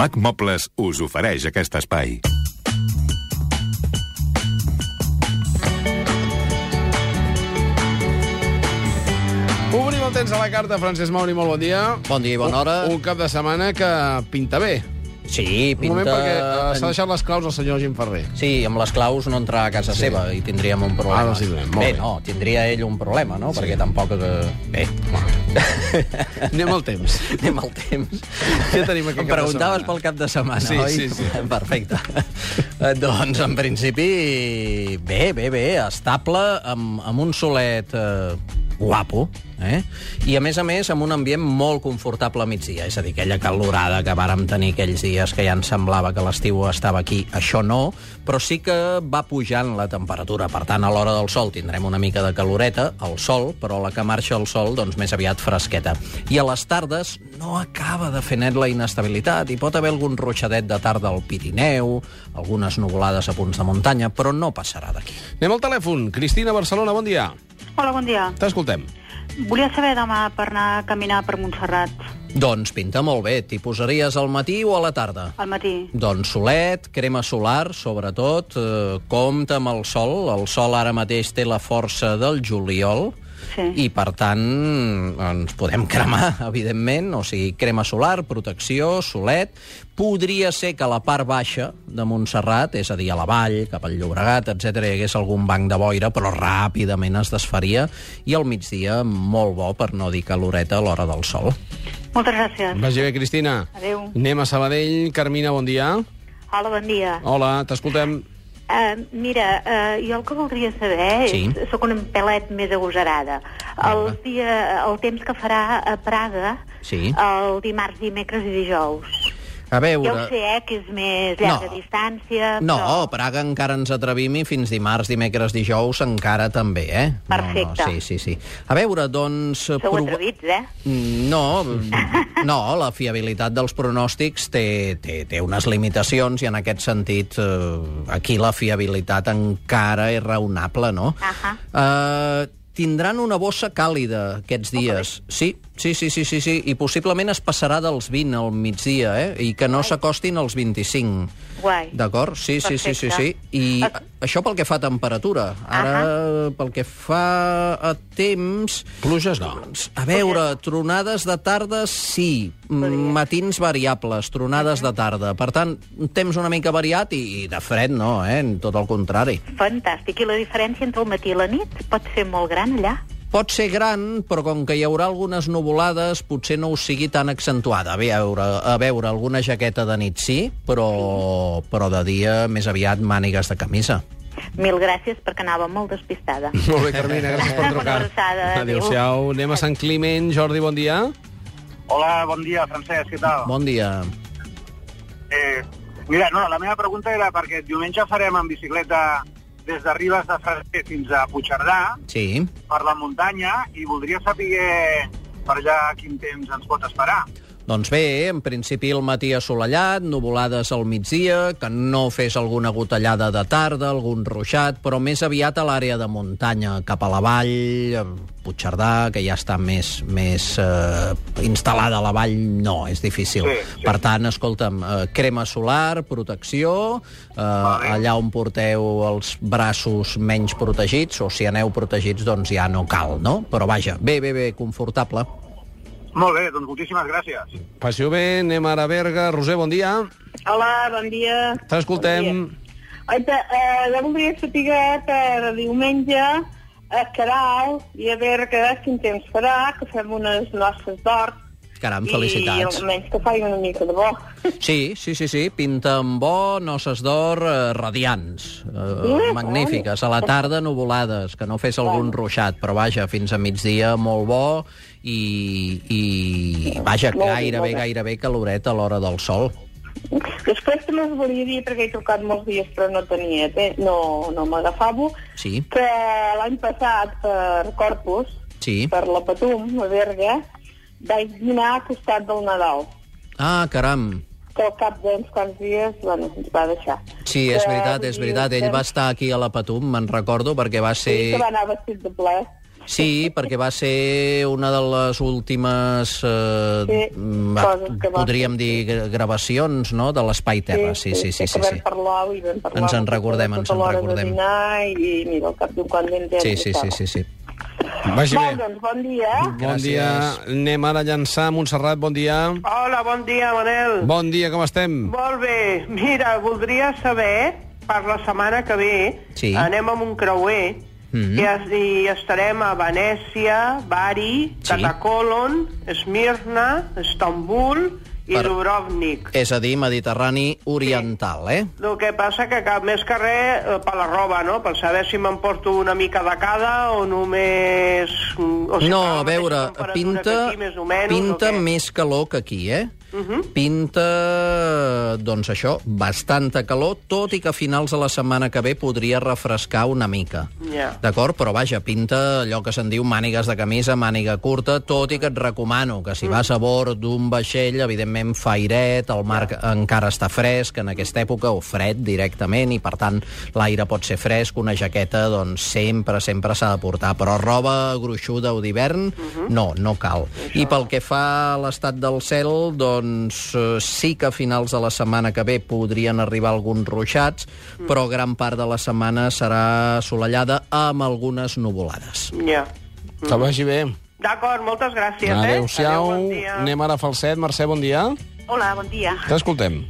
Mac Mobles us ofereix aquest espai. Obrim el temps a la carta, Francesc Mauri, molt bon dia. Bon dia i bona hora. Un, un cap de setmana que pinta bé. oh, Sí, Un pinta... moment, perquè eh, s'ha en- deixat les claus al senyor Jim Ferrer. Sí, amb les claus no entrarà a casa sí. Ah, seva i tindríem un problema. Ara els hi donem, molt bé, bé. no, tindria ell un problema, no? Sí. Perquè tampoc... eh, Bé, Anem al temps. anem al temps. Què tenim aquest cap Em de preguntaves setmana? pel cap de setmana, Sí, oi? sí, sí. Perfecte. Eh, doncs, en principi, bé, bé, bé, estable, amb, amb un solet eh, guapo, eh? i a més a més amb un ambient molt confortable a migdia, és a dir, aquella calorada que vàrem tenir aquells dies que ja ens semblava que l'estiu estava aquí, això no, però sí que va pujant la temperatura, per tant, a l'hora del sol tindrem una mica de caloreta, el sol, però la que marxa el sol, doncs més aviat fresqueta. I a les tardes no acaba de fer net la inestabilitat, hi pot haver algun ruixadet de tarda al Pirineu, algunes nuvolades a punts de muntanya, però no passarà d'aquí. Anem al telèfon. Cristina, Barcelona, bon dia. Hola, bon dia. T'escoltem. Volia saber demà per anar a caminar per Montserrat Doncs pinta molt bé, t'hi posaries al matí o a la tarda? al matí. Doncs solet, crema solar, sobretot, eh, compta amb el sol. El sol ara mateix té la força del juliol, Sí. i per tant ens podem cremar, evidentment, o sigui, crema solar, protecció, solet. Podria ser que a la part baixa de Montserrat, és a dir, a la vall, cap al Llobregat, etc hi hagués algun banc de boira, però ràpidament es desfaria, i al migdia molt bo, per no dir caloreta, a l'hora del sol. Moltes gràcies. Vagi bé, Cristina. Adéu. Anem a Sabadell. Carmina, bon dia. Hola, bon dia. Hola, t'escoltem. Uh, mira, uh, jo el que voldria saber Sí. és... Sóc una pelet més agosarada. El, dia, el temps que farà a Praga Sí. el dimarts, dimecres i dijous. A veure... Ja ho sé, eh, que és més llarga No. distància, No, però... a Praga encara ens atrevim i fins dimarts, dimecres, dijous encara també, eh? No, Perfecte. No, sí, sí, sí. A veure, doncs... eh, Sou proba- atrevits, eh? Mm, No, mm, no, la fiabilitat dels pronòstics té, té, té unes limitacions i en aquest sentit eh, aquí la fiabilitat encara és raonable, no? Ahà. eh, tindran una bossa càlida aquests dies. Sí, sí, sí, sí, sí, sí. I possiblement es passarà dels 20 al migdia, eh? I que no s'acostin als 25. Guai. D'acord? Sí, sí, sí, sí, sí. Perfecte. I Ah. això pel que fa a temperatura. Ara, pel que fa a temps... Pluges no. Doncs, A veure, tronades de tarda, sí. Mm, Matins variables, tronades de tarda. Per tant, un temps una mica variat i, i de fred no, eh? Tot el contrari. Fantàstic. I la diferència entre el matí i la nit pot ser molt gran allà? Pot ser gran, però com que hi haurà algunes nuvolades, potser no us sigui tan accentuada. A veure, a veure alguna jaqueta de nit sí, però, però de dia més aviat mànigues de camisa. Mil gràcies, perquè anava molt despistada. Molt bé, Carmina, gràcies per Una trucar. abraçada, adéu. Adéu-siau. Anem a Sant Climent. Jordi, bon dia. Hola, bon dia, Francesc, què tal? Bon dia. Eh, mira, no, la meva pregunta era perquè diumenge farem en bicicleta des de Ribes de Freser fins a Puigcerdà, Sí. per la muntanya, i voldria saber per allà quin temps ens pot esperar. Doncs bé, en principi el matí assolellat, nuvolades al migdia, que no fes alguna gotellada de tarda, algun ruixat, però més aviat a l'àrea de muntanya, cap a la vall, eh, Puigcerdà, que ja està més, més eh, instal·lada a la vall, no, és difícil. Sí, sí. Per tant, escolta'm, eh, crema solar, protecció, eh, allà on porteu els braços menys protegits, o si aneu protegits, doncs ja no cal, no? Però vaja, bé, bé, bé, confortable. Molt bé, doncs moltíssimes gràcies. Passi-ho bé. Anem ara a Berga. Roser, bon dia. Hola, bon dia. T'escoltem. Bon Oita, eh, jo voldria saber per diumenge a Caral i a veure que quin temps farà, que fem unes noces d'hort. Caram, I felicitats. almenys que faci una mica de bo. Sí, sí, sí, sí, pinta amb bo, noces d'or, eh, radiants, eh, Mm, magnífiques. A la tarda, nuvolades, que no fes algun ruixat, però vaja, fins a migdia molt bo i, i vaja, Molt bé, gairebé, molt bé. gairebé caloreta a l'hora del sol. Després també us volia dir, perquè he trucat molts dies però no tenia temps, no, no m'agafava, Sí, que l'any passat per Corpus, sí. per la Patum, a Berga, vaig dinar al costat del Nadal, Ah, caram. que al cap d'uns quants dies bueno, ens va deixar. Sí, és Que veritat, vull és dir, veritat. Ell va estar aquí a la Patum, me'n recordo, perquè va Sí. ser... Que va anar vestit de ple. Sí, perquè va ser una de les últimes, eh, Sí, mm, va, coses que va podríem dir, gra- gravacions, no?, de l'Espai Terra. Sí, sí, sí, sí, que sí. vam parlar i vam parlar... Ens en moltes recordem, ens coses en a l'hora recordem. De dinar, i, mira, al cap d'un quant d'ells ja Sí, ens sí, sí, estava. sí, sí. Vagi Molt, bé. doncs, bon dia. Bon Gràcies. dia. Anem ara a llançar. Montserrat, bon dia. Hola, bon dia, Manel. Bon dia, com estem? Molt bé. Mira, voldria saber, per la setmana que ve, Sí. anem amb un creuer Mhm. mm. i, es, i estarem a Venècia, Bari, Sí. sí. Catacolon, Esmirna, Estambul i Per- per... Dubrovnik. És a dir, Mediterrani oriental, eh? El que passa que cap més que res eh, per la roba, no? Per saber si m'emporto una mica de cada o només... mm, O si No, fa la a veure, mateixa temperatura que pinta, aquí, més o menys, pinta o què? més calor que aquí, eh? Mhm. Pinta, doncs això, bastanta calor, tot i que a finals de la setmana que ve podria refrescar una mica. Ja. D'acord? Però vaja, pinta allò que se'n diu mànigues de camisa, màniga curta, tot i que et recomano que si vas a bord d'un vaixell, evidentment fairet, el mar encara està fresc en aquesta època, o fred directament, i per tant l'aire pot ser fresc, una jaqueta doncs sempre, sempre s'ha de portar, però roba gruixuda o d'hivern, Mhm. no, no cal. I pel que fa a l'estat del cel, doncs eh, sí que a finals de la setmana que ve podrien arribar alguns ruixats, Mm. però gran part de la setmana serà assolellada amb algunes nuvolades. Ja. Mm. Que vagi bé. D'acord, moltes gràcies, eh? Adéu-siau. Adéu, bon dia. Anem ara a Falset. Mercè, bon dia. Hola, bon dia. T'escoltem.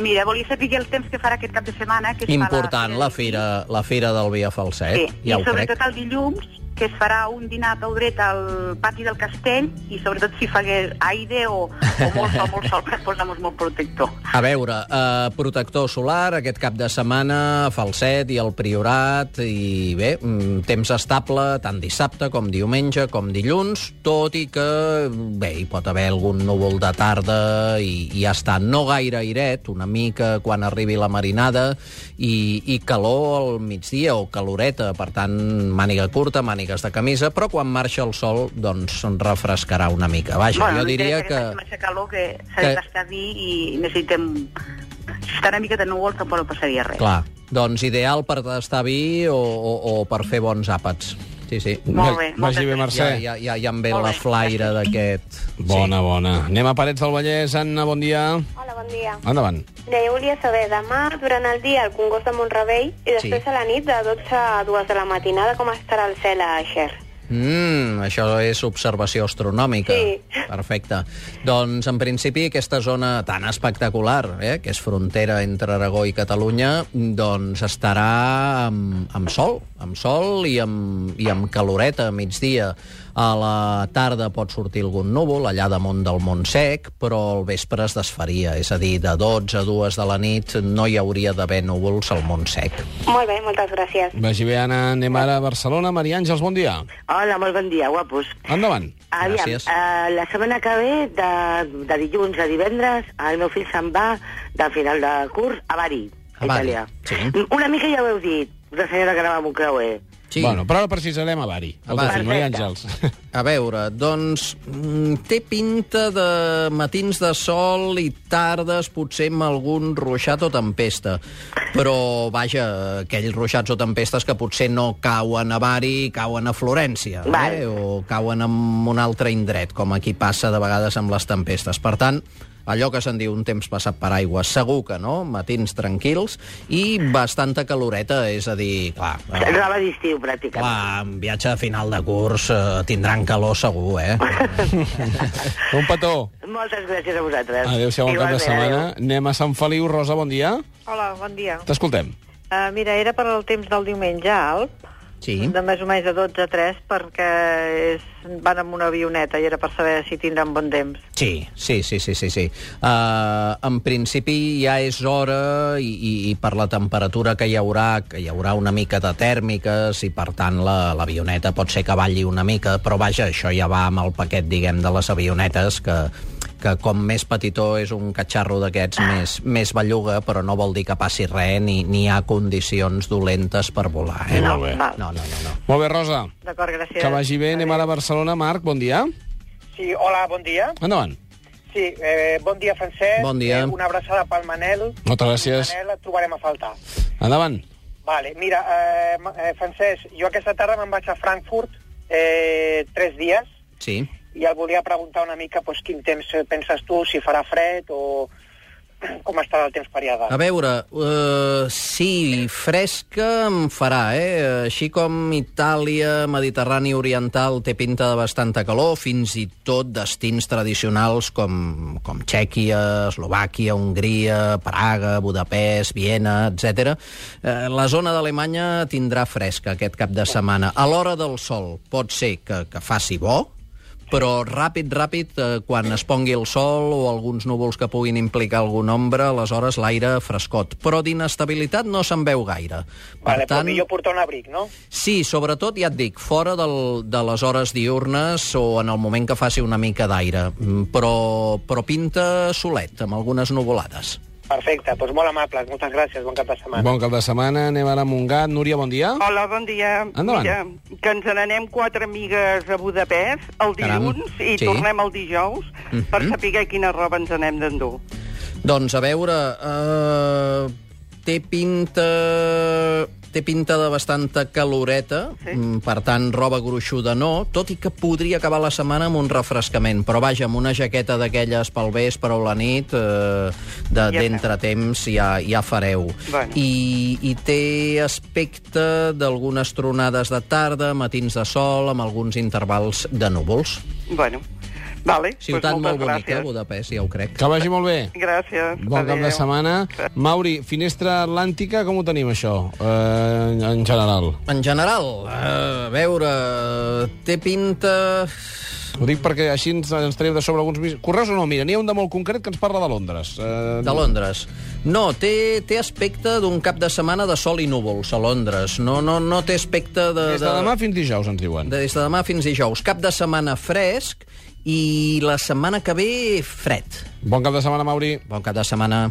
Mira, volia saber el temps que farà aquest cap de setmana. Que es fa Important, la del Pi. fira, la fira del Via Falset, Sí, ja i ho crec. sobretot el dilluns, que es farà un dinar a Pedret al pati del castell i sobretot si fagués aire o, o molt sol, molt sol, que ens posem molt protector. A veure, eh, protector solar aquest cap de setmana, a falset i el Priorat, i bé, mm, temps estable tant dissabte com diumenge com dilluns, tot i que bé, hi pot haver algun núvol de tarda i, i ja està, no gaire airet, una mica quan arribi la marinada, i, i calor al migdia o caloreta, per tant, màniga curta, mànigues de camisa, però quan marxa el sol, doncs refrescarà una mica. Vaja, jo diria que... Massa calor que s'ha que- de d'escadir i necessitem... Si està una mica de núvol, tampoc no passaria res. Clar, doncs ideal per tastar vi o, o, o per fer bons àpats. Sí, sí. Molt bé, moltes Vagi bé, gràcies. Mercè. Ja, ja, ja, ja em ve Molt la bé, flaire d'aquest... Bona, bona. Anem a Parets del Vallès. Anna, bon dia. Hola, bon dia. Endavant. Bé, jo volia saber, demà, durant el dia, el Congost de Montrevell i després Sí. a la nit, de 12 a 2 de la matinada, com estarà el cel a Xer? Sí. Mm, això és observació astronòmica. Sí. Perfecte. Doncs, en principi, aquesta zona tan espectacular, eh, que és frontera entre Aragó i Catalunya, doncs estarà amb, amb sol, amb sol i amb, i amb caloreta a migdia. A la tarda pot sortir algun núvol allà damunt del Montsec, però al vespre es desfaria, és a dir, de 12 a 2 de la nit no hi hauria d'haver núvols al Montsec. Molt bé, moltes gràcies. Vagi bé, Anna. Anem ara a Barcelona. Maria Àngels, bon dia. Hola, molt bon dia, guapos. Endavant. Aviam, Gràcies. eh, la setmana que ve, de, de dilluns a divendres, el meu fill se'n va de final de curs a Bari, A a Bari, Itàlia. Mm, sí. Una mica ja ho heu dit, la senyora que anava amb un creuer. Sí. Bueno, però ara precisarem a Bari. A El Bari. teu fill, Maria Àngels. A veure, doncs mm, té pinta de matins de sol i tardes potser amb algun ruixat o tempesta. Però, vaja, aquells ruixats o tempestes que potser no cauen a Bari, cauen a Florència, Val. eh? o cauen en un altre indret, com aquí passa de vegades amb les tempestes. Per tant, allò que se'n diu un temps passat per aigua, segur que no, matins tranquils i bastanta caloreta, és a dir, clar... eh, Roba d'estiu, pràcticament. Clar, en viatge de final de curs eh, tindran calor segur, eh? Un petó. Moltes gràcies a vosaltres. Adéu-siau, bon cap de Igualment, setmana. adéu. Anem a Sant Feliu. Rosa, bon dia. Hola, bon dia. T'escoltem. Uh, mira, era per al temps del diumenge alp, Sí. de més o menys de 12 a 3, perquè és, van amb una avioneta i era per saber si tindran bon temps. Sí, sí, sí, sí, sí. sí. Uh, en principi ja és hora i, i, i per la temperatura que hi haurà, que hi haurà una mica de tèrmiques i per tant la- l'avioneta la, pot ser que balli una mica, però vaja, això ja va amb el paquet, diguem, de les avionetes que que com més petitó és un catxarro d'aquests, més, més belluga, però no vol dir que passi res ni, ni hi ha condicions dolentes per volar. Eh? Molt bé. No, no, no. no. Molt bé, Rosa. D'acord, gràcies. Que vagi bé. Anem ara a Barcelona. Marc, bon dia. Sí, hola, bon dia. Endavant. Sí, eh, bon dia, Francesc. Bon dia. Eh, una abraçada pel Manel. Moltes gràcies. Manel, et trobarem a faltar. Endavant. Vale, mira, eh, ma- eh, Francesc, jo aquesta tarda me'n vaig a Frankfurt eh, tres dies Sí. i el volia preguntar una mica pues, quin temps eh, penses tu, si farà fred o com estarà el temps per allà dalt. Ah, A veure, uh, sí, fresca em farà, eh? Així com Itàlia, Mediterrani Oriental, té pinta de bastanta calor, fins i tot destins tradicionals com, com Txèquia, Eslovàquia, Hongria, Praga, Budapest, Viena, etc. Uh, la zona d'Alemanya tindrà fresca aquest cap de setmana. A l'hora del sol pot ser que, que faci bo, però ràpid, ràpid, eh, quan es pongui el sol o alguns núvols que puguin implicar algun ombra, aleshores l'aire frescot. Però d'inestabilitat no se'n veu gaire. Per vale, tant... Però millor portar un abric, no? Sí, sobretot, ja et dic, fora del, de les hores diurnes o en el moment que faci una mica d'aire. Mm, Però, però pinta solet, amb algunes nuvolades. Perfecte, doncs molt amables, moltes gràcies, bon cap de setmana. Bon cap de setmana, anem ara a Montgat. Núria, bon dia. Hola, bon dia. Endavant. Mira, que ens n'anem quatre amigues a Budapest el Caram, dilluns i sí. tornem el dijous Mhm. per saber quina roba ens anem d'endur. Doncs a veure, uh, té pinta té pinta de bastanta caloreta, sí. per tant, roba gruixuda no, tot i que podria acabar la setmana amb un refrescament, però vaja, amb una jaqueta d'aquelles pel vespre o la nit, eh, de- Ja d'entretemps de, ja, ja fareu. Bueno. I, I té aspecte d'algunes tronades de tarda, matins de sol, amb alguns intervals de núvols. Bueno, vale. Ciutat doncs molt moltes bonica, eh, gràcies. Budapest, ja ho crec. Que vagi molt bé. Gràcies. Bon cap de adéu. setmana. Mauri, finestra atlàntica, com ho tenim, això, eh, en general? En general, eh, a veure, té pinta... Ho dic perquè així ens, ens treu de sobre alguns... mis- Correus o no? Mira, n'hi ha un de molt concret que ens parla de Londres. Eh, De Londres. No, té, té aspecte d'un cap de setmana de sol i núvols a Londres. No, no, no té aspecte de... Des de demà fins dijous, ens diuen. De, des de demà fins dijous. Cap de setmana fresc i la setmana que ve fred. Bon cap de setmana, Mauri. Bon cap de setmana.